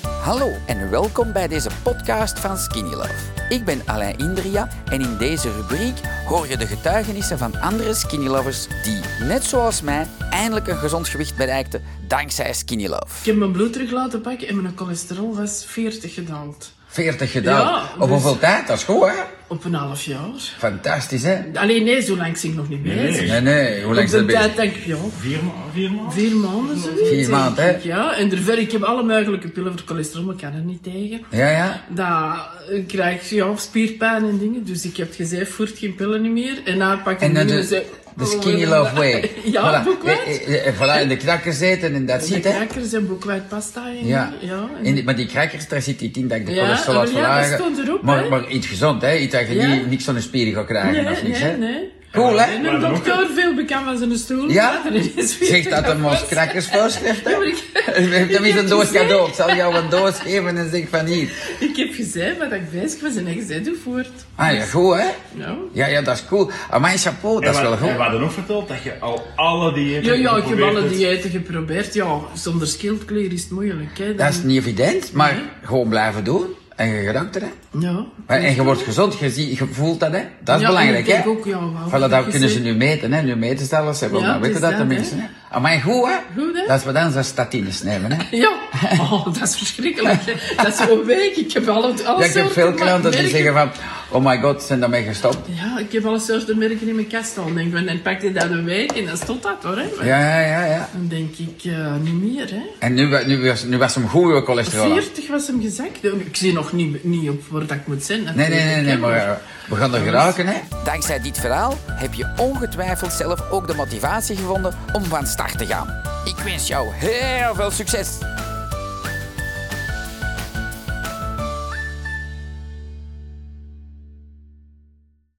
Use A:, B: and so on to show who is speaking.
A: Hallo en welkom bij deze podcast van Skinny Love. Ik ben Alain Indria en in deze rubriek hoor je de getuigenissen van andere Skinny Lovers die, net zoals mij, eindelijk een gezond gewicht bereikten dankzij Skinny
B: Ik
A: Love.
B: heb mijn bloed terug laten pakken en mijn cholesterol was 40 gedaald.
A: 40 gedaan.
B: Ja,
A: Op
B: dus-
A: hoeveel tijd? Dat is goed, hè?
B: Op een half jaar.
A: Fantastisch, hè?
B: Alleen nee, zo lang zit ik nog niet bezig.
A: Nee, nee, hoe lang
B: Op
A: is dat
B: de
A: bezig?
B: tijd denk ik, ja,
C: Vier, ma- vier maanden?
B: vier maanden zoiets.
A: Vier maanden,
B: denk ik,
A: hè?
B: Ja, en verder, ik heb alle mogelijke pillen voor cholesterol, maar ik kan er niet tegen.
A: Ja, ja.
B: Dat eh, krijg je ja, spierpijn en dingen, dus ik heb gezegd, voert geen pillen meer. En dan pak ik
A: En dan
B: een nieuwe,
A: de,
B: zeg-
A: de Skinny Love Way.
B: Oh, Ja, boek
A: Eh,
B: boekwijd.
A: eh, eh, Voilà, in de knakker zitten en dat
B: De
A: zit, hè?
B: crackers en boekwijd pasta en
A: Ja,
B: ja en-
A: en die- maar die crackers, daar zit iets in dat ik de
B: Ja,
A: cholesterol had
B: oh ja, dat
A: verlagen.
B: stond erop,
A: maar,
B: hè?
A: maar iets gezond, hè? Iets dat je
B: Ja.
A: niet, niks van de spieren gaat krijgen of
B: Nee,
A: niks,
B: nee,
A: hè?
B: nee.
A: Cool, hè?
B: En een
C: Maar dan ook-
B: dokter, veel bekend van zijn stoel.
A: Ja?
B: er is weer-
A: Zeg dat hem ons crackers voorschrift, hè?
B: Ja, maar ik-
A: Dat is
B: ik
A: een
B: heb
A: doos
B: gezegd-
A: cadeau. Ik zal jou een doos geven en zeg van hier.
B: Ik heb gezegd wat ik bezig was en ik zei, doe voort.
A: Ah ja, goed, hè?
B: Ja.
A: Ja, ja, dat is cool. Ah, mijn chapeau, dat is
C: En
A: wel
C: wat- En we
A: goed.
C: hadden ook verteld dat je al alle diëten
B: Ja, ja, ik heb
C: geprobeerd
B: alle
C: hebt.
B: diëten geprobeerd. Ja, zonder schildklier is het moeilijk, hè.
A: Dat
B: Dan-
A: is niet evident, maar gewoon blijven doen. En je geraakt er, hè?
B: Ja.
A: Maar- En je wordt gezond, je, ziet, je voelt dat, hè? Dat is
B: Ja,
A: belangrijk,
B: ik denk
A: hè?
B: ook, ja, wel.
A: Voilà, dat
B: Ik
A: kunnen ze
B: zeg-
A: nu meten, hè? Nu meten ze alles, hè?
B: Ja,
A: maar
B: het
A: weten
B: is
A: dat
B: dat,
A: de
B: hè?
A: mensen, hè? Amai, goed, hè?
B: Goed, hè?
A: Dat is wat dan ze statines nemen, hè?
B: Ja, oh, dat is verschrikkelijk. hè. Dat is een week. Ik heb alle, alle
A: Ja, ik heb
B: soorten
A: veel klanten die
B: merken-
A: zeggen van, oh my god, ze zijn daarmee gestopt.
B: Ja, ik heb alle soorten merken in mijn kast al. Denk, ik, en pak je dat een week en dan stopt dat hoor. Hè. Maar
A: Ja, ja, ja, ja.
B: Dan denk ik, eh, niet meer hè.
A: En nu, wa- nu, was, nu was hem goed, uw cholesterol. af.
B: 40 was hem gezakt. Ik zie nog niet, niet op waar dat ik moet zijn.
A: Nee, nee, nee, nee,
B: natuurlijk, hè,
A: maar eh, we gaan er geraken, hè?
D: Dankzij dit verhaal heb je ongetwijfeld zelf ook de motivatie gevonden om van start te gaan. Ik wens jou heel veel succes!